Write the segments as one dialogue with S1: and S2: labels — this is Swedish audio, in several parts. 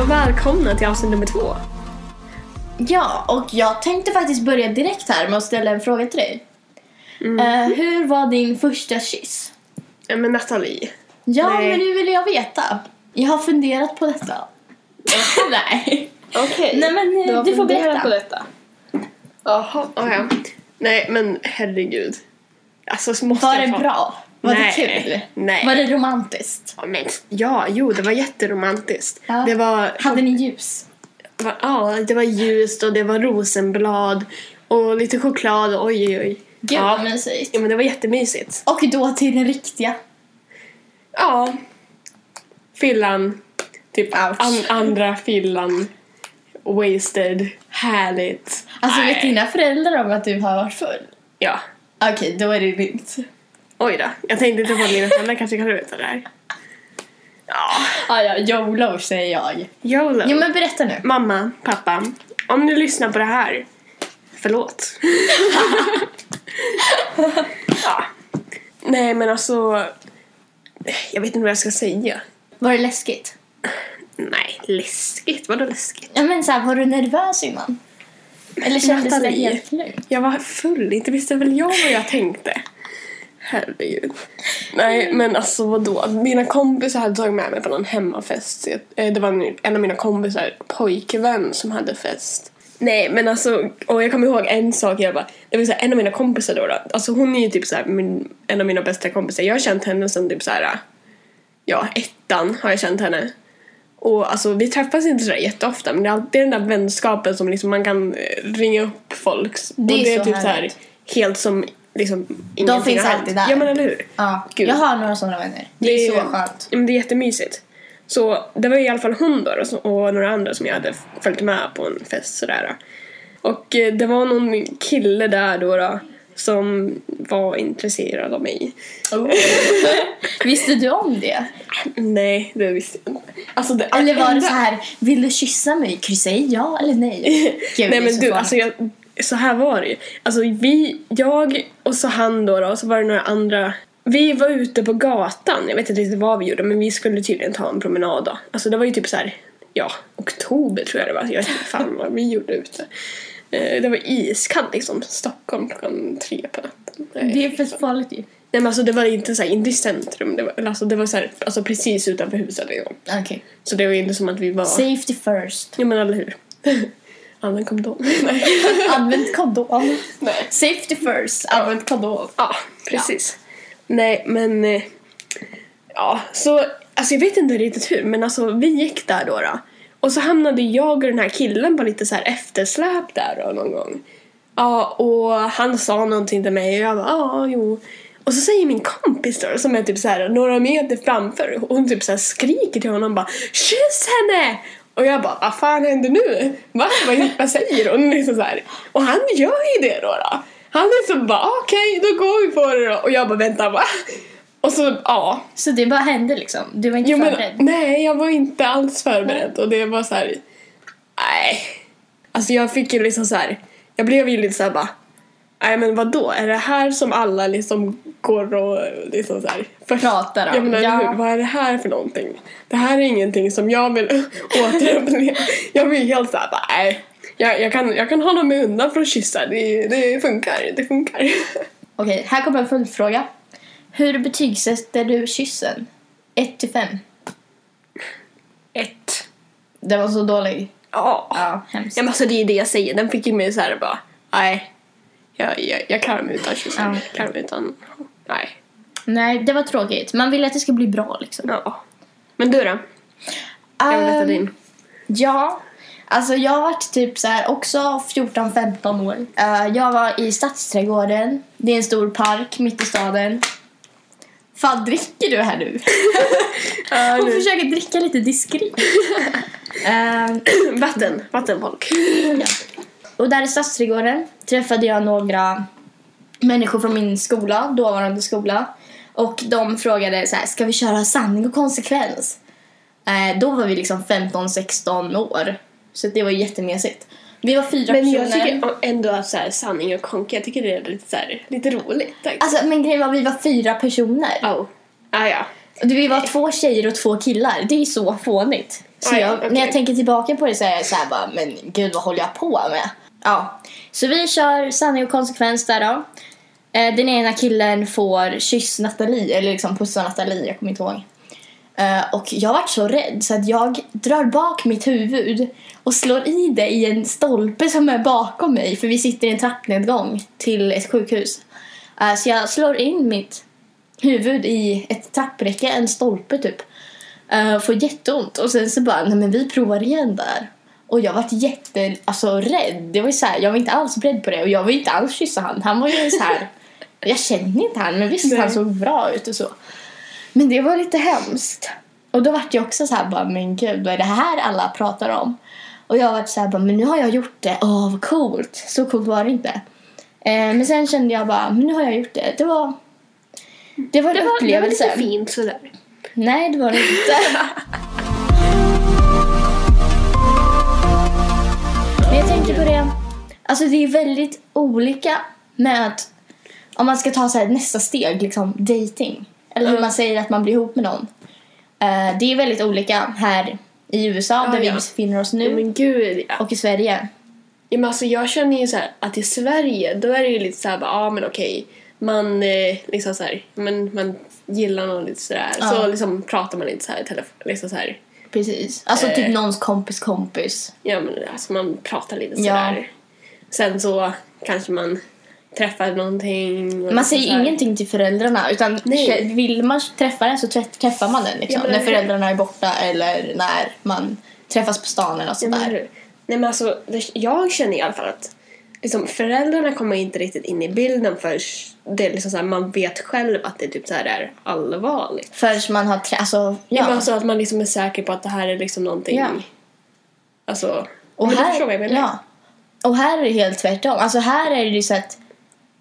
S1: välkomna till avsnitt nummer två.
S2: Ja, och jag tänkte faktiskt börja direkt här med att ställa en fråga till dig. Eh, hur var din första kyss?
S1: Eh, Men Nathalie.
S2: Ja,
S1: Nej.
S2: men nu vill jag veta. Jag har funderat på detta. Nej.
S1: Okej.
S2: Nej, men eh, du, får berätta.
S3: på detta.
S1: Jaha, okej. Nej men herregud. Alltså så måste
S2: Var
S1: jag
S2: det
S1: ta-
S2: bra? Var
S1: Nej.
S2: det kul?
S1: Nej.
S2: Var det romantiskt?
S1: Ja, men- Ja, jo det var jätteromantiskt.
S2: Ja.
S1: Det var
S2: Hade ni ljus?
S1: Va- Ja, det var ljust och det var rosenblad och lite choklad. Oj, oj, oj.
S2: Gud
S1: ja.
S2: vad mysigt.
S1: Ja, men det var jättemysigt.
S2: Och då till den riktiga.
S1: Ja. Fyllan. Typ
S2: Ouch.
S1: an- andra fyllan. Wasted. Härligt.
S2: Alltså vet
S1: Nej.
S2: dina föräldrar om att du har varit full?
S1: Ja.
S2: Okej, då är det lugnt.
S1: Oj då. Jag tänkte inte på att mina föräldrar kanske kan veta det här. Ja.
S2: Ah, ja, YOLO säger jag.
S1: YOLO.
S2: Jo men berätta nu.
S1: Mamma, pappa. Om ni lyssnar på det här. Förlåt. ja. Nej men alltså. Jag vet inte vad jag ska säga.
S2: Var det läskigt?
S1: Nej, läskigt. Vadå läskigt?
S2: Ja men såhär, var du nervös innan? Eller kändes det
S1: Nathalie.
S2: helt lugnt?
S1: Jag var full, inte visste väl jag vad jag tänkte. Herregud.
S2: Mm.
S1: Nej, men alltså vadå? Mina kompisar hade tagit med mig på någon hemmafest. Eh, Det var en- en av mina kompisar pojkvän som hade fest. Nej, men alltså, och jag kommer ihåg en sak. Jag bara, det var så här, en av mina kompisar då, då. Alltså hon är ju typ så här, min, en av mina bästa kompisar. Jag har känt henne sedan typ så här, ja, ettan har jag känt henne. Och alltså, vi träffas inte sådär jätteofta men det är alltid den där vänskapen som liksom man kan eh, ringa upp folk.
S2: Det är
S1: och det är
S2: så
S1: typ så här
S2: härligt.
S1: helt som liksom ingenting
S2: finns
S1: har hänt.
S2: alltid där.
S1: Ja men eller hur?
S2: Ja,
S1: Gud.
S2: jag har några sådana vänner. Det, är så skönt.
S1: Ja, men det är jättemysigt. Så det var i alla fall hon då, då som- och några andra som jag hade följt med på en fest sådär. då. Och eh, det var någon kille där då, då som var intresserad av mig. Oh.
S2: Visste du om det?
S1: Nej, det visste jag inte. Alltså, det,
S2: Eller var det
S1: enda-
S2: så här, vill du kyssa mig? Kryssa i ja eller nej? Gud, det
S1: Nej
S2: är
S1: men
S2: så
S1: du,
S2: farligt.
S1: alltså jag, så här var det ju. Alltså vi, jag och så han då, då och så var det några andra. Vi var ute på gatan, jag vet inte riktigt vad vi gjorde men vi skulle tydligen ta en promenad då. Alltså det var ju typ så här, ja, oktober tror jag det var. Jag vet inte fan vad vi gjorde ute. Eh, Det var iskallt liksom, Stockholm klockan tre på natten. Nej.
S2: Det är för farligt ju.
S1: Nej men alltså det var inte så här, inte i centrum, det var, alltså, det var så här, alltså precis utanför huset liksom.
S2: Okej.
S1: Så det var ju inte som att vi var...
S2: Safety first.
S1: Ja men eller hur. Använd kondom. Nej.
S2: Använd kondom.
S1: Nej.
S2: Safety first. Använd kondom.
S1: Ja, precis. Nej, men... eh, Ja, så... Alltså jag vet inte riktigt hur, men alltså vi gick där då. då. Och så hamnade jag och den här killen på lite så här eftersläp där då någon gång. Ja, och han sa någonting till mig och jag bara ja, jo. Och så säger min kompis då, som är typ så här några meter framför, och hon typ så här skriker till honom bara Kyss henne! Och jag bara, vad fan händer nu? Va? Vad, vad säger hon? Liksom så här. Och han gör ju det då. då. Han liksom bara, okej, då går vi på det då. Och jag bara, vänta, va? Och så, ja,
S2: Så det bara hände liksom. Du var inte
S1: Jo, men,
S2: förberedd.
S1: nej, jag var inte alls förberedd och det var så här. Nej. Alltså jag fick ju liksom så här. Jag blev ju lite så här bara. Nej men vad då? Är det här som alla liksom går och liksom så här först-
S2: Pratar om,
S1: Ja, men, eller
S2: ja.
S1: hur? Vad är det här för någonting? Det här är ingenting som jag vill återuppleva. Jag blir helt så här bara, nej. Jag, jag, kan, jag kan hålla mig undan från kyssar. Det, det funkar. Det funkar.
S2: Okej, här kommer en följdfråga. Hur betygsätter du kyssen? 1 till 5.
S1: Ett.
S2: Den var så dålig.
S1: Ja.
S2: Ja, hemskt.
S1: Ja, men alltså det är det jag säger. Den fick ju mig såhär bara, nej. Jag, jag, jag klarar mig utan kyssen.
S2: Ja.
S1: Jag klarar mig utan, nej.
S2: Nej, det var tråkigt. Man vill att det ska bli bra liksom.
S1: Ja. Men du då? Jag vill veta
S2: Ehm,
S1: din.
S2: Ja. Alltså jag har varit typ så här också 14-15 år. Eh, jag var i Stadsträdgården. Det är en stor park mitt i staden. Fan, dricker du här nu? Hon
S1: nu.
S2: försöker dricka lite diskret. Ehm,
S1: Vatten. Vattenfolk.
S2: och där i Stadsträdgården träffade jag några människor från min skola, dåvarande skola. Och de frågade så här, ska vi köra sanning och konsekvens? Eh, då var vi liksom 15-16 år. Så det var jättemesigt. Vi var fyra
S1: Men
S2: personer.
S1: jag tycker ändå att så här, sanning och konka, jag tycker det är lite, så här, lite roligt. Tack.
S2: Alltså men grejen var vi var fyra personer.
S1: oh. Ah, ja.
S2: Du, vi var två tjejer och två killar. Det är ju så fånigt. Så
S1: Oj,
S2: jag,
S1: okej.
S2: när jag tänker tillbaka på det så är jag så här bara, men gud vad håller jag på med? Ja, så vi kör sanning och konsekvens där då. Eh, Den ena killen får kyss Nathalie, eller liksom pussa Nathalie, jag kommer inte ihåg. Eh, Och jag vart så rädd så att jag drar bak mitt huvud och slår i det i en stolpe som är bakom mig för vi sitter i en trappnedgång till ett sjukhus. Eh, Så jag slår in mitt huvud i ett trappräcke, en stolpe typ. Eh, och får jätteont och sen så bara, nej men vi provar igen där. Och jag vart jätte, alltså rädd. Det var ju så här, jag var inte alls beredd på det och jag vill inte alls kyssa han. Han var ju så här, jag känner inte han men visst
S1: Nej.
S2: han såg bra ut och så. Men det var lite hemskt. Och då vart jag också så här bara, men gud vad är det här alla pratar om? Och jag vart så här bara, men nu har jag gjort det, åh vad coolt. Så coolt var det inte. Eh, men sen kände jag bara, men nu har jag gjort det. Det var, det var en
S1: Det var, det var
S2: upplevelse.
S1: lite fint sådär.
S2: Nej, det var det inte. Men jag tänker på det. Alltså det är väldigt olika med att om man ska ta så här, nästa steg, liksom dating. Eller hur
S1: Mm.
S2: man säger att man blir ihop med någon. Eh, det är väldigt olika här i USA,
S1: Ja,
S2: där vi
S1: ja.
S2: befinner oss
S1: Ja,
S2: nu,
S1: men gud ja.
S2: och i Sverige.
S1: ja men alltså, jag känner ju så här att i Sverige då är det ju lite såhär bara, ja ah, men okej. Man eh, liksom såhär, men man gillar någon lite sådär.
S2: Ja.
S1: Så liksom pratar man lite såhär i telefon. Liksom såhär.
S2: Precis. Alltså
S1: Eh.
S2: typ någons kompis kompis.
S1: Ja men alltså man pratar lite
S2: Ja.
S1: sådär. Sen så kanske man träffar någonting. och
S2: Man
S1: liksom
S2: säger
S1: såhär.
S2: ingenting till föräldrarna utan
S1: Nej.
S2: vill man träffa den så trä- träffar man den liksom,
S1: Ja, men
S2: när
S1: eller hur?
S2: föräldrarna är borta eller när man träffas på stan eller något
S1: Ja,
S2: sånt
S1: men
S2: där.
S1: hur? Nej men alltså, det, jag känner i alla fall att liksom, föräldrarna kommer inte riktigt in i bilden förrän det är liksom så här, man vet själv att det typ så här är liksom. allvarligt.
S2: Förrän man har trä- alltså,
S1: Ja.
S2: ja.
S1: Men alltså att man liksom är säker på att det här är liksom någonting...
S2: Ja.
S1: Alltså...
S2: och,
S1: men du
S2: här,
S1: förstår vad jag menar.
S2: ja. och här är det helt tvärtom. Alltså här är det ju så att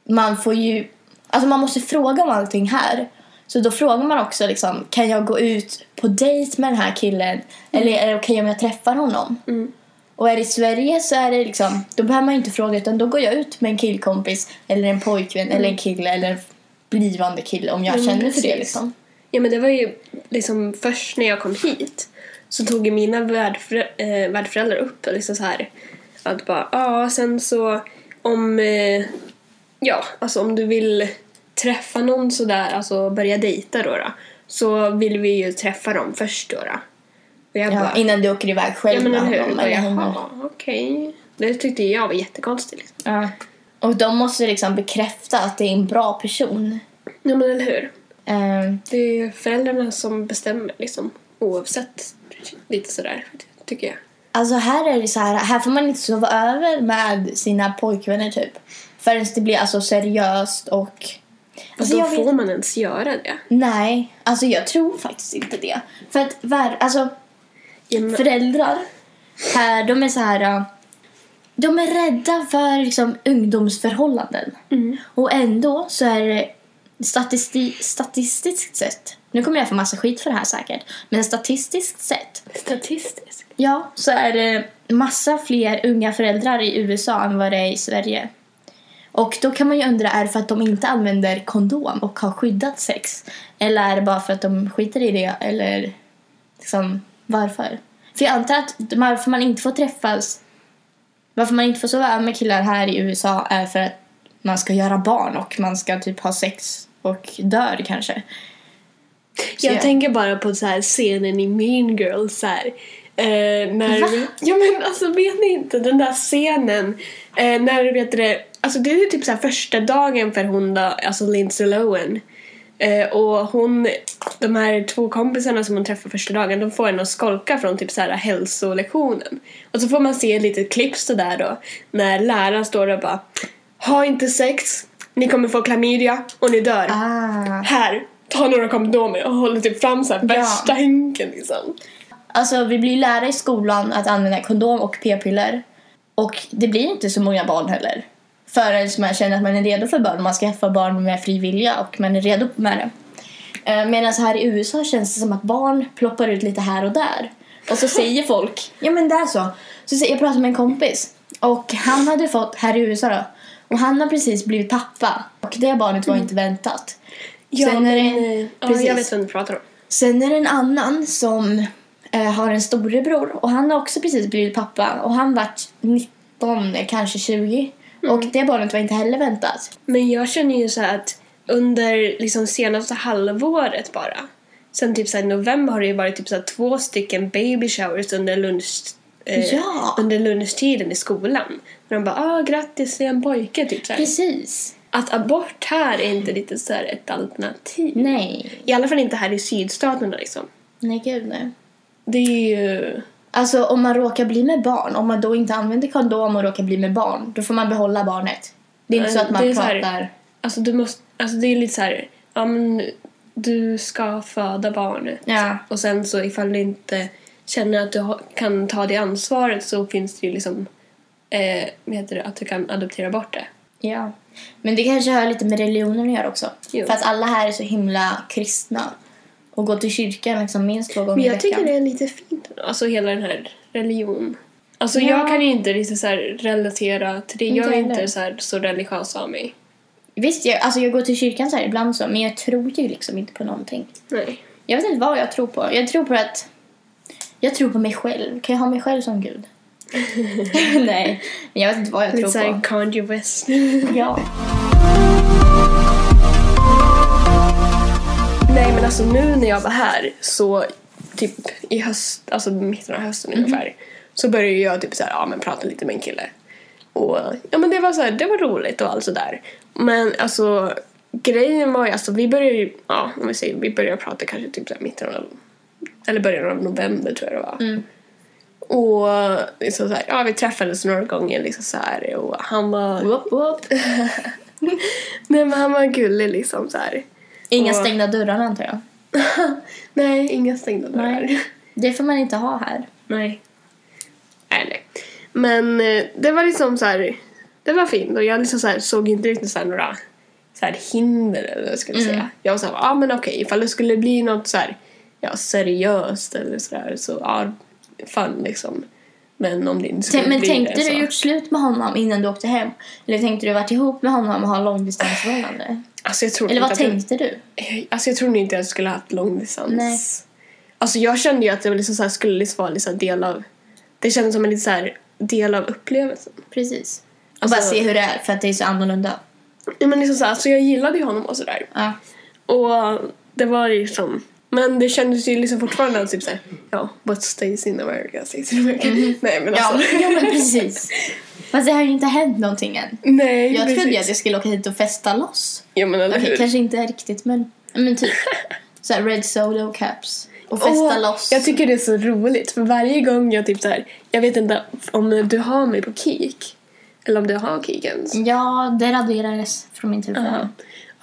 S2: man får ju, alltså man måste fråga om allting här. Så då frågar man också liksom, kan jag gå ut på dejt med den här killen? Eller är det okej om jag träffar honom?
S1: Mm.
S2: Och är det i Sverige så är det liksom, då behöver man inte fråga utan då går jag ut med en killkompis eller en pojkvän eller en kille eller en blivande kille om jag
S1: Mm,
S2: känner för
S1: precis.
S2: det liksom.
S1: Ja men det var ju liksom först när jag kom hit så tog ju mina värdförä- eh, värdföräldrar upp liksom så här att bara ja sen så om eh, ja alltså om du vill träffa någon sådär alltså börja dejta då, då så vill vi ju träffa dem först då. då. Och jag
S2: Ja,
S1: bara
S2: innan du åker iväg
S1: ja
S2: själv
S1: men
S2: med
S1: eller
S2: honom.
S1: hur. Bara,
S2: Eller hänger.
S1: Jaha okej. Det tyckte jag var jättekonstigt. Liksom.
S2: Ja. Och de måste liksom bekräfta att det är en bra person.
S1: Ja men eller hur.
S2: Ehm,
S1: Det är ju föräldrarna som bestämmer liksom oavsett lite sådär tycker jag.
S2: alltså här är det så här, här får man inte sova över med sina pojkvänner typ. Förrän det blir alltså seriöst och... Alltså,
S1: Alltså, då
S2: jag vet
S1: får man ens göra det.
S2: Nej, alltså jag tror faktiskt inte det. För att vär, alltså,
S1: Ja, men,
S2: föräldrar här, de är så här... äh, De är rädda för liksom, ungdomsförhållanden.
S1: Mm.
S2: Och ändå så är det statisti- statistiskt sett, nu kommer jag få massa skit för det här säkert, men statistiskt sett
S1: Statistiskt.
S2: Ja, så är det massa fler unga föräldrar i USA än vad det är i Sverige. Och då kan man ju undra, är det för att de inte använder kondom och har skyddat sex? Eller är det bara för att de skiter i det? Eller liksom, varför? För jag antar att varför man inte får träffas, varför man inte får sova över med killar här i USA är för att man ska göra barn och man ska typ ha sex och dör kanske. Så
S1: Jag
S2: jag-
S1: tänker bara på så här scenen i Mean Girls. Så här, eh, när,
S2: Va?
S1: ja men alltså vet ni inte den där scenen eh, när vet du det, alltså det är ju typ så här första dagen för hon då, alltså Lindsay Lohan. Eh, och hon, de här två kompisarna som hon träffar första dagen, de får henne att skolka från typ så här hälsolektionen. Och så får man se ett litet klipp så där då, när läraren står där och bara Ha inte sex, ni kommer få klamydia och ni dör.
S2: Ah.
S1: här, ta några kondomer och håller typ fram så här värsta hinken liksom.
S2: Alltså vi blir lärda i skolan att använda kondom och p-piller. Och det blir inte så många barn heller. Förrän man känner att man är redo för barn. Man skaffar barn med fri vilja och man är redo med det. Eh, Medan här i USA känns det som att barn ploppar ut lite här och där. Och så säger folk, ja men det är så. så säger, jag pratade med en kompis och han hade fått, här i USA då, och han har precis blivit pappa. Och det barnet var inte väntat. Sen är det-
S1: eh, Mm. ja,
S2: precis.
S1: jag vet vem du pratar om.
S2: Sen är det en annan som eh, har en storebror och han har också precis blivit pappa och han vart 19, kanske 20.
S1: Mm.
S2: Och det barnet var inte heller väntat.
S1: Men jag känner ju så här att under liksom senaste halvåret bara, sen typ så här november har det ju varit typ så här två stycken baby showers under lunch eh,
S2: Ja.
S1: under lunchtiden i skolan. Och de bara ah, grattis det är en pojke typ så här.
S2: Precis.
S1: Att abort här är inte riktigt så här ett alternativ.
S2: Nej.
S1: I alla fall inte här i sydstaterna liksom.
S2: Nej, gud nej.
S1: Det är ju...
S2: Alltså om man råkar bli med barn, om man då inte använder kondom och råkar bli med barn, då får man behålla barnet. Det är inte
S1: Nej,
S2: så att man
S1: Eh, det är så
S2: pratar...
S1: här- Alltså du måste... Alltså det är lite så här... Ja men du ska föda barnet.
S2: Ja.
S1: Och sen så ifall du inte känner att du ha- kan ta det ansvaret så finns det ju liksom... Eh, vad heter det? Att du kan adoptera bort det.
S2: Ja. Men det kanske har lite med religionen att göra också.
S1: Jo.
S2: För att alla här är så himla kristna. Och går till kyrkan liksom minst två gånger
S1: Men
S2: i
S1: jag
S2: veckan.
S1: tycker det är lite fint. Alltså hela den här religion. Alltså
S2: Ja.
S1: jag kan ju inte riktigt så här relatera till det.
S2: Inte
S1: Jag är
S2: heller.
S1: inte så, här, så religiös av mig.
S2: Visst, jag, alltså jag går till kyrkan så här ibland så, men jag tror ju liksom inte på någonting.
S1: Nej.
S2: Jag vet inte vad jag tror på. Jag tror på att... Jag tror på mig själv. Kan jag ha mig själv som gud? Nej, men jag vet inte vad jag
S1: Lite
S2: tror
S1: såhär
S2: på.
S1: Kanye West.
S2: Ja.
S1: Nej men alltså nu när jag var här så typ i höst, alltså mitten av hösten ungefär så började jag typ så här, ja men prata lite med en kille. Och ja men det var så här, det var roligt och allt sådär. Men alltså grejen var ju alltså vi började ju, ja om vi säger vi började prata kanske typ så här mitten av, eller början av november tror jag det var. Och liksom så här, ja vi träffades några gånger liksom så här och han var,
S2: Whoop, whoop.
S1: nej men han var gullig liksom så här.
S2: Inga
S1: Och-
S2: stängda dörrar antar jag.
S1: nej inga stängda dörrar.
S2: Det får man inte ha här.
S1: Nej. Nej, nej. Men eh, det var liksom så här, det var fint och jag liksom så här, såg inte riktigt så här några så här hinder eller vad jag skulle
S2: Mm.
S1: säga. Jag var så här, ja ah, men okej, ifall det skulle bli något så här, ja seriöst eller så där så ja, fan liksom. Men om det inte skulle
S2: Tänk, men
S1: bli
S2: tänkte
S1: det
S2: du
S1: så.
S2: gjort slut med honom innan du åkte hem? Eller tänkte du varit ihop med honom och ha långdistansförhållande?
S1: Alltså jag tror
S2: Eller vad
S1: inte att
S2: tänkte du?
S1: jag, alltså jag tror inte jag skulle ha haft långdistans.
S2: Nej.
S1: Alltså jag kände ju att det var liksom så här, skulle liksom vara liksom en del av, det kändes som en lite så här del av upplevelsen.
S2: Precis. Och
S1: Alltså-
S2: bara se hur det är för att det är så annorlunda.
S1: Ja, men liksom så, här, så jag gillade ju honom och sådär.
S2: Ja.
S1: Och det var liksom... Men det kändes ju liksom fortfarande typ såhär, ja, what stays in America stays in America. Nej men
S2: Mm. Ja,
S1: alltså.
S2: ja men precis. Fast det har ju inte hänt någonting än.
S1: Nej,
S2: Jag trodde ju att
S1: precis.
S2: jag skulle åka hit och festa loss.
S1: Ja men eller
S2: Okej,
S1: hur.
S2: kanske inte riktigt men, men typ. Så här, red solo caps. Och festa
S1: Åh,
S2: loss.
S1: Jag tycker det är så roligt för varje gång jag typ såhär, jag vet inte om du har mig på Kik. Eller om du har Kik ens.
S2: Ja, det raderades från min telefon.
S1: Ja.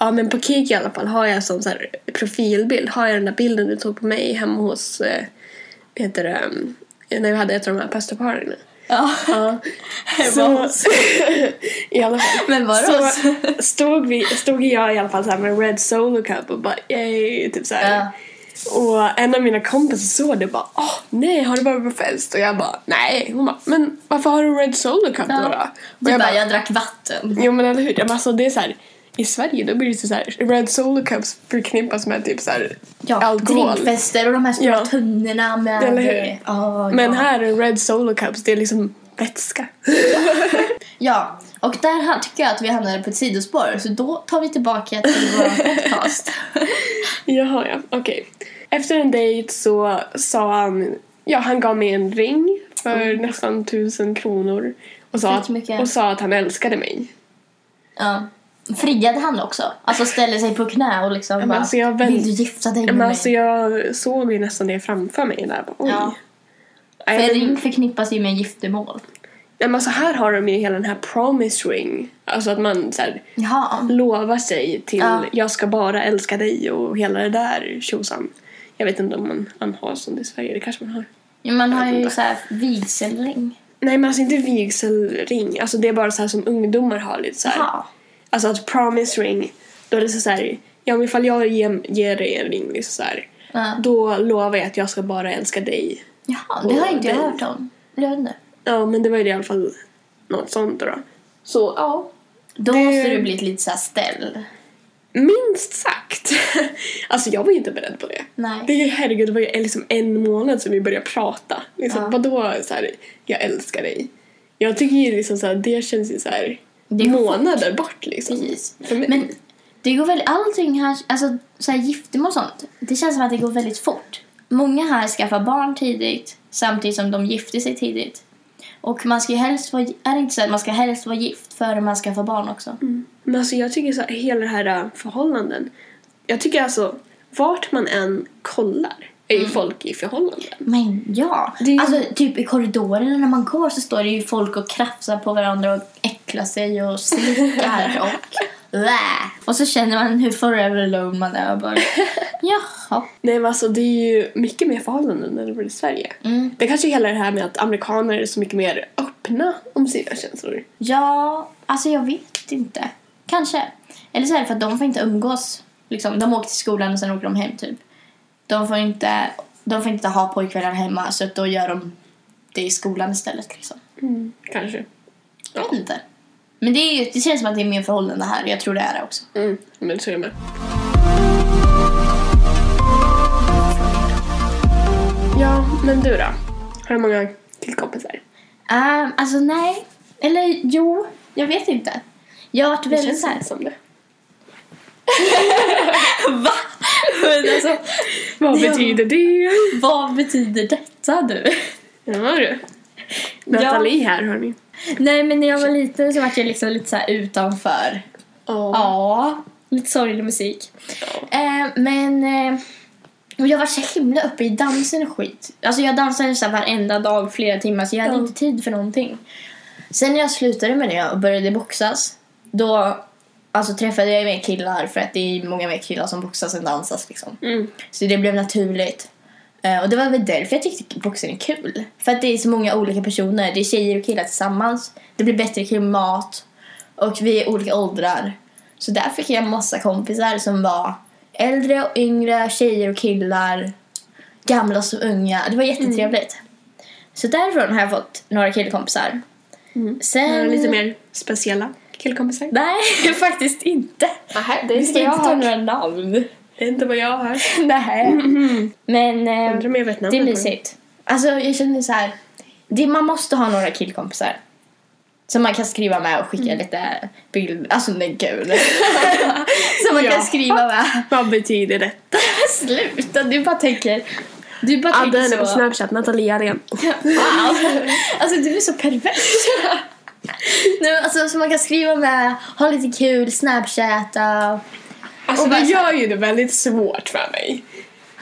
S1: Ja men på Kik i alla fall har jag som så här profilbild. Har jag den där bilden du tog på mig hemma hos, eh, vad heter det, um, när vi hade ett av de här pastaparerna.
S2: Ja.
S1: Ja.
S2: Hemma
S1: Så, I alla fall.
S2: Men var det hos-
S1: så stod, vi, stod jag i alla fall så här med Red Solo Cup och bara yay, typ så här.
S2: Ja.
S1: Och en av mina kompisar såg det och bara åh nej, har du varit på fest? Och jag bara nej. Hon bara men varför har du Red Solo Cup då? då? Och
S2: Du bara, jag drack vatten.
S1: Jo men eller hur? Jag bara, alltså, det är så här, I Sverige då blir det så här, Red Solo Cups förknippas med typ så här,
S2: Ja,
S1: alkohol.
S2: drinkfester och de här stora
S1: Ja.
S2: tunnorna med...
S1: Eller hur?
S2: Ja,
S1: Men
S2: ja.
S1: här är Red Solo Cups, det är liksom vätska.
S2: Ja, och där ha- tycker jag att vi hamnade på ett sidospår så då tar vi tillbaka till vår podcast.
S1: Jaha, ja. Okej. Efter en dejt så sa han... Ja, han gav mig en ring för
S2: Mm.
S1: nästan tusen kronor och sa,
S2: Fint
S1: att,
S2: mycket.
S1: och sa att han älskade mig.
S2: Ja. Friade han också? Alltså ställde sig på knä och liksom
S1: men
S2: bara,
S1: alltså jag väl-
S2: vill du gifta dig med
S1: Men
S2: mig?
S1: alltså jag såg ju nästan det framför mig. Där. Bara, Oj.
S2: Ja.
S1: Nej,
S2: För
S1: men-
S2: ring förknippas ju med giftermål.
S1: nej, men alltså här har de ju hela den här promise ring. Alltså att man så här,
S2: Jaha.
S1: lovar sig till
S2: Ja.
S1: jag ska bara älska dig och hela det där tjosan. Jag vet inte om man, man har sånt i Sverige, det kanske man har.
S2: Ja, man har ju
S1: inte.
S2: så här vigselring.
S1: Nej men alltså inte vigselring, alltså det är bara så här som ungdomar har lite så här.
S2: Jaha.
S1: Alltså att promise ring, då är det så här, ja men ifall jag ger, ger dig en ring liksom så här,
S2: Ja.
S1: då lovar jag att jag ska bara älska dig.
S2: Jaha, det har
S1: Och
S2: inte jag
S1: den-
S2: hört om. Eller jag vet inte.
S1: Ja men det var ju det i alla fall något sånt då. Så ja.
S2: Då
S1: Det-
S2: måste du blivit lite så här ställd.
S1: Minst sagt. alltså jag var ju inte beredd på det.
S2: Nej.
S1: Det är ju herregud, det var ju liksom en månad sedan vi började prata. Liksom,
S2: Ja.
S1: Vadå så här, jag älskar dig. Jag tycker ju liksom så här, det känns ju så här
S2: Det är
S1: månader bort liksom.
S2: Precis.
S1: För mig.
S2: Men det går väl allting här, alltså så här giftermål och sånt. Det känns som att det går väldigt fort. Många här skaffar barn tidigt samtidigt som de gifter sig tidigt. Och man ska ju helst vara, är det inte så att man ska helst vara gift före man skaffar barn också?
S1: Men alltså jag tycker så här, hela det här äh, förhållanden. Jag tycker alltså, vart man än kollar är
S2: Mm.
S1: ju folk i förhållanden.
S2: Men ja,
S1: Det är ju-
S2: alltså typ i korridorerna när man går så står det ju folk och krafsar på varandra och äcklar sig och slickar och Blä. Och så känner man hur forever alone man är och bara jaha.
S1: Nej men alltså det är ju mycket mer förhållanden än det var i Sverige.
S2: Mm.
S1: Det är kanske är hela det här med att amerikaner är så mycket mer öppna om sina känslor.
S2: Ja, alltså jag vet inte. Kanske. Eller så är det för att de får inte umgås. Liksom, de åker till skolan och sen åker de hem typ. De får inte, de får inte ha pojkvänner hemma så att då gör de det i skolan istället. Liksom.
S1: Kanske.
S2: Jag vet inte. Men det, är ju, det känns som att det är mer förhållande här. Jag tror det är det också.
S1: Mm, men så är jag med. Ja, men du då? Har du många killkompisar?
S2: Ehm, alltså nej. Eller jo, jag vet inte. Jag har varit väldigt såhär...
S1: inte som det.
S2: Va? Men alltså,
S1: Vad
S2: Ja.
S1: betyder det?
S2: vad betyder detta nu?
S1: Ja du. Nathalie här hörni.
S2: Nej men när jag var liten så var jag liksom lite så här utanför.
S1: Ja.
S2: Ja, lite sorglig musik. Eh, men eh, och jag var så himla uppe i dansen och skit. Alltså jag dansade så här varenda dag flera timmar så jag hade
S1: Ja.
S2: inte tid för någonting. Sen när jag slutade med det och började boxas då alltså, träffade jag ju mer killar för att det är många mer killar som boxas än dansas liksom.
S1: Mm.
S2: Så det blev naturligt. Eh, och det var väl därför jag tyckte boxen är kul. För att det är så många olika personer. Det är tjejer och killar tillsammans. Det blir bättre klimat. Och vi är olika åldrar. Så där fick jag massa kompisar som var äldre och yngre, tjejer och killar. Gamla som unga. Det var jättetrevligt. Så därifrån har jag fått några killkompisar.
S1: Mm.
S2: Sen...
S1: Några lite mer speciella killkompisar?
S2: Nej, faktiskt inte.
S1: Nej,
S2: Vi ska inte ta några namn.
S1: Det är inte vad jag har.
S2: Nej.
S1: Mm-hmm.
S2: Men... ehm,
S1: Undrar om jag vet
S2: Det är
S1: namnen på dem.
S2: mysigt. Alltså jag känner så här. Det, man måste ha några killkompisar. Som man kan skriva med och skicka lite bilder. Alltså nej gud. Som man
S1: Ja.
S2: kan skriva med.
S1: Vad betyder det?
S2: Sluta, du bara tänker. Du bara
S1: Adda henne
S2: tänker
S1: på
S2: så.
S1: snapchat, Nathalie Arén.
S2: Wow. Alltså du är så pervers. nej, men alltså, som man kan skriva med, ha lite kul, snapchatta.
S1: Alltså
S2: Och
S1: du
S2: bara-
S1: gör ju det väldigt svårt för mig.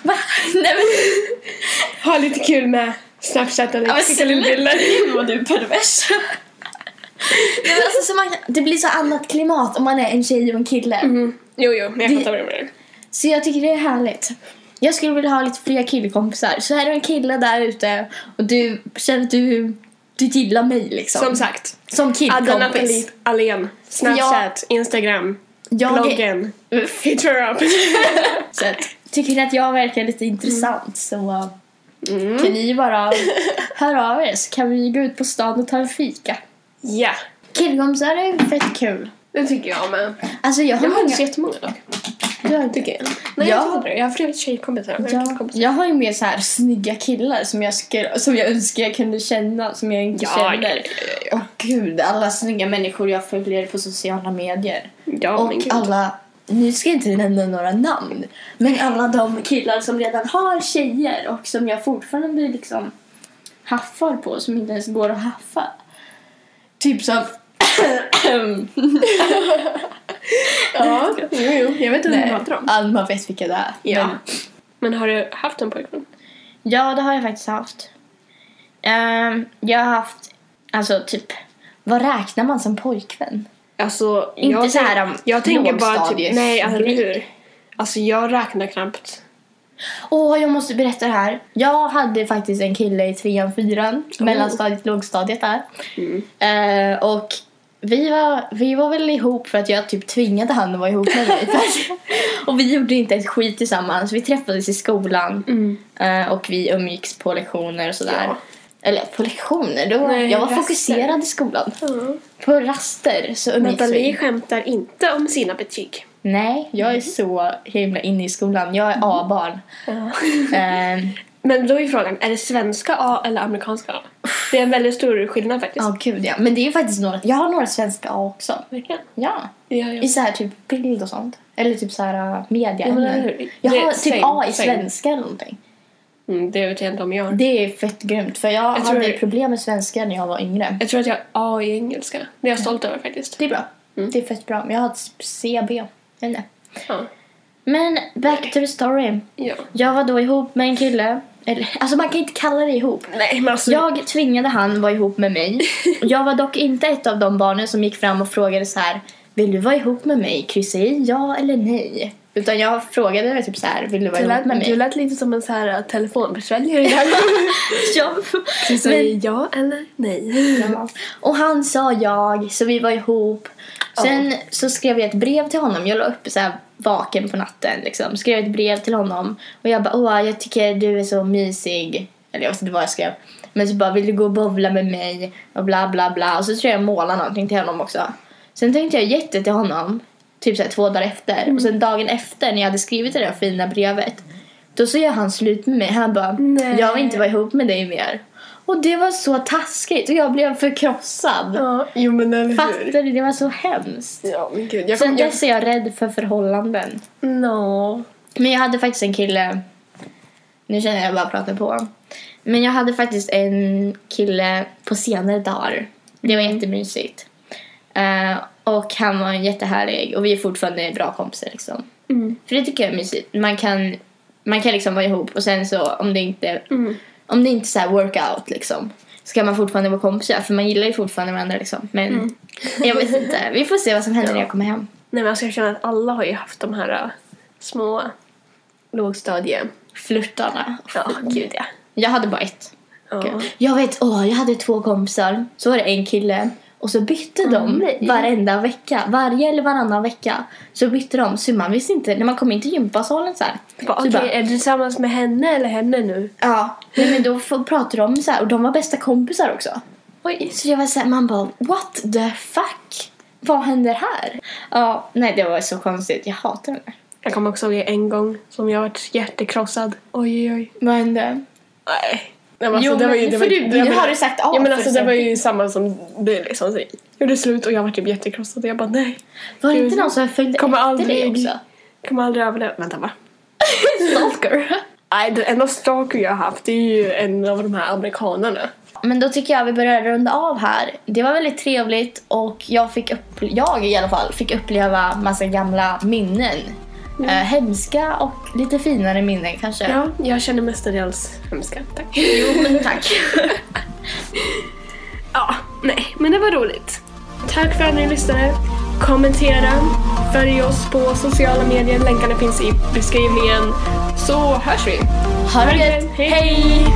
S2: Va? Nej men,
S1: Ha lite kul med snapchat
S2: Ja,
S1: eller
S2: men
S1: skicka lite
S2: snälla.
S1: bilder.
S2: nu var du pervers. nej, men alltså, så man, kan- det blir så annat klimat om man är en tjej och en kille.
S1: Mm. Jo, jo, men jag
S2: Det-
S1: fattar vad du menar.
S2: Så jag tycker det är härligt. Jag skulle vilja ha lite fler killkompisar. Så är du en kille där ute och du känner att du, du gillar mig liksom.
S1: Som
S2: Som,
S1: sagt, Adda Nathalie
S2: killkompis.
S1: Alén. Snapchat, Instagram,
S2: Jag
S1: bloggen, Future Up.
S2: Så att, tycker ni att jag verkar lite intressant så
S1: Mm.
S2: kan ni bara höra av er så kan vi gå ut på stan och ta en fika.
S1: Ja,
S2: Killkompisar är ju fett kul.
S1: det tycker jag med.
S2: Alltså jag har
S1: Jag har
S2: många...
S1: inte så jättemånga dock.
S2: Jag,
S1: Tycker jag. Nej, jag
S2: Ja.
S1: har inte det. Jag har fler tjejkompisar än
S2: jag,
S1: killkompisar.
S2: jag har ju mer så här snygga killar som jag, skulle, som jag önskar jag kunde känna som jag inte
S1: Ja,
S2: känner. Åh gud, alla snygga människor jag följer på sociala medier.
S1: Ja,
S2: och
S1: men gud.
S2: alla, nu ska jag inte nämna några namn, men alla de killar som redan har tjejer och som jag fortfarande blir liksom haffar på, som inte ens går att haffa. Typ som...
S1: Ja, jo, jo. Jag vet inte vad du pratar om.
S2: Alma vet vilka det är.
S1: Ja.
S2: Men,
S1: Men har du haft en pojkvän?
S2: ja, det har jag faktiskt haft. Ehm, jag har haft, alltså typ, vad räknar man som pojkvän?
S1: Alltså,
S2: Inte
S1: jag,
S2: så här,
S1: tänk-
S2: um,
S1: jag tänker bara typ,
S2: lågstadies-
S1: nej, alltså, eller
S2: grej.
S1: hur? Alltså jag räknar knappt.
S2: Åh, jag måste berätta det här. Jag hade faktiskt en kille i trean, fyran,
S1: Oh.
S2: mellanstadiet, lågstadiet där.
S1: Mm.
S2: Eh, och vi var, vi var väl ihop för att jag typ tvingade han att vara ihop med mig. För att- och vi gjorde inte ett skit tillsammans. Vi träffades i skolan
S1: Mm.
S2: eh, och vi umgicks på lektioner och sådär.
S1: Ja.
S2: Eller på lektioner, då,
S1: Nej,
S2: jag var
S1: raster.
S2: fokuserad i skolan. På raster så umgicks vi.
S1: Nathalie skämtar inte om sina betyg.
S2: Nej, jag
S1: Mhm.
S2: är så himla inne i skolan. Jag är A-barn. Ehm,
S1: Men då är frågan, är det svenska A eller amerikanska A? Det är en väldigt stor skillnad faktiskt.
S2: Ja, gud ja. Men det är ju faktiskt några... Jag har några svenska A också.
S1: Verkligen.
S2: Ja.
S1: Det gör jag.
S2: I så här typ bild och sånt. Eller typ så här uh,
S1: Ja, men eller
S2: mediaämnen.
S1: hur?
S2: Jag
S1: Det-
S2: har typ
S1: same,
S2: A i
S1: same.
S2: svenska eller någonting.
S1: Mm, det vet jag inte om jag har.
S2: Det är fett grymt för jag,
S1: tror
S2: hade
S1: det-
S2: problem med svenska när jag var yngre.
S1: Jag tror att jag har A i engelska. Det är jag stolt över faktiskt.
S2: Det är bra.
S1: Mm.
S2: Det är fett bra. Men jag har typ C, B. Jag vet inte.
S1: Ja.
S2: Men back to the story.
S1: ja.
S2: Jag var då ihop med en kille. Eller, alltså man kan inte kalla det ihop.
S1: Nej, men alltså...
S2: Jag tvingade han vara ihop med mig. Jag var dock inte ett av de barnen som gick fram och frågade så här. Vill du vara ihop med mig? Kryssa i ja eller nej. Utan jag frågade typ så här. Vill du vara
S1: Du
S2: ihop
S1: lät,
S2: med
S1: du
S2: mig?
S1: lät lite som en så här uh, telefonförsäljare i det här
S2: Ja.
S1: Du
S2: Men-
S1: säger ja eller nej.
S2: Och han sa jag, så vi var ihop. Sen så skrev jag ett brev till honom. Jag låg uppe så här vaken på natten. Liksom. Skrev ett brev till honom. Och jag bara, åh jag tycker du är så mysig. Eller jag vet inte vad jag skrev. Men så bara, vill du gå och bowla med mig? Och bla bla bla. Och så tror jag jag målade någonting till honom också. Sen tänkte jag jätte till honom. Typ så här två dagar efter. Och sen dagen efter när jag hade skrivit det där fina brevet. Då så gör han slut med mig. Han bara,
S1: Nej.
S2: jag vill inte vara ihop med dig mer. Och det var så taskigt och jag blev förkrossad.
S1: Ja, jo men eller hur.
S2: Fattar du? Det var så hemskt.
S1: Ja, men gud. Jag
S2: Sen
S1: kommer... Jag...
S2: dess är jag rädd för förhållanden.
S1: No.
S2: Men jag hade faktiskt en kille... Nu känner jag bara pratar på. Men jag hade faktiskt en kille på senare dagar. Det var
S1: Mm.
S2: jättemysigt. Eh, och han var jättehärlig och vi är fortfarande bra kompisar. Liksom.
S1: Mm.
S2: För det tycker jag är mysigt. Man kan, man kan liksom vara ihop och sen så om det inte,
S1: Mm.
S2: om det inte så här workout liksom. Så kan man fortfarande vara kompisar för man gillar ju fortfarande varandra liksom. Men
S1: Mm.
S2: jag vet inte. Vi får se vad som händer när jag kommer hem.
S1: Nej men alltså jag känner att alla har ju haft de här äh, små lågstadie...
S2: Flörtarna.
S1: Ja, gud ja.
S2: Jag hade bara ett.
S1: ja.
S2: Jag vet, åh, jag hade två kompisar. Så var det en kille. Och så bytte de
S1: nej.
S2: varenda vecka. Varje eller varannan vecka. Så bytte de. Så man visste inte. När man kom in till gympasalen så här.
S1: Bara,
S2: så
S1: Okej,
S2: bara,
S1: är du tillsammans med henne eller henne nu?
S2: ja. Nej, men då får- pratade de så här. Och de var bästa kompisar också.
S1: Oj.
S2: Så jag var så här, man bara what the fuck? Vad händer här? Ja, nej det var så konstigt. Jag hatar den här.
S1: Jag kommer också ihåg en gång som jag varit hjärtekrossad. Oj, oj, oj.
S2: Vad hände?
S1: Nej. Nej, men alltså,
S2: Jo,
S1: det var ju,
S2: men
S1: det
S2: för
S1: var,
S2: du-
S1: det
S2: nu
S1: var-
S2: har du sagt A
S1: Ja, men
S2: för
S1: alltså, det var
S2: exempel.
S1: ju samma som du liksom. Så, gjorde slut och jag var typ jättekrossad och jag bara nej.
S2: Var det
S1: Gud,
S2: inte någon som följde
S1: Kommer
S2: efter dig
S1: aldrig,
S2: också?
S1: kommer aldrig överleva. Vänta va?
S2: Stalker.
S1: Nej, den enda stalker jag har haft det är ju en av de här amerikanerna.
S2: Men då tycker jag vi börjar runda av här. Det var väldigt trevligt och jag fick upp, jag i alla fall fick uppleva massa gamla minnen. Eh, hemska och lite finare minnen kanske.
S1: Ja, jag känner mestadels hemska. Tack.
S2: Jo, men tack.
S1: Ja, nej, men det var roligt. Tack för att ni lyssnade. Kommentera, följ oss på sociala medier. Länkarna finns i beskrivningen. Så hörs vi.
S2: Ha det gött. Hej.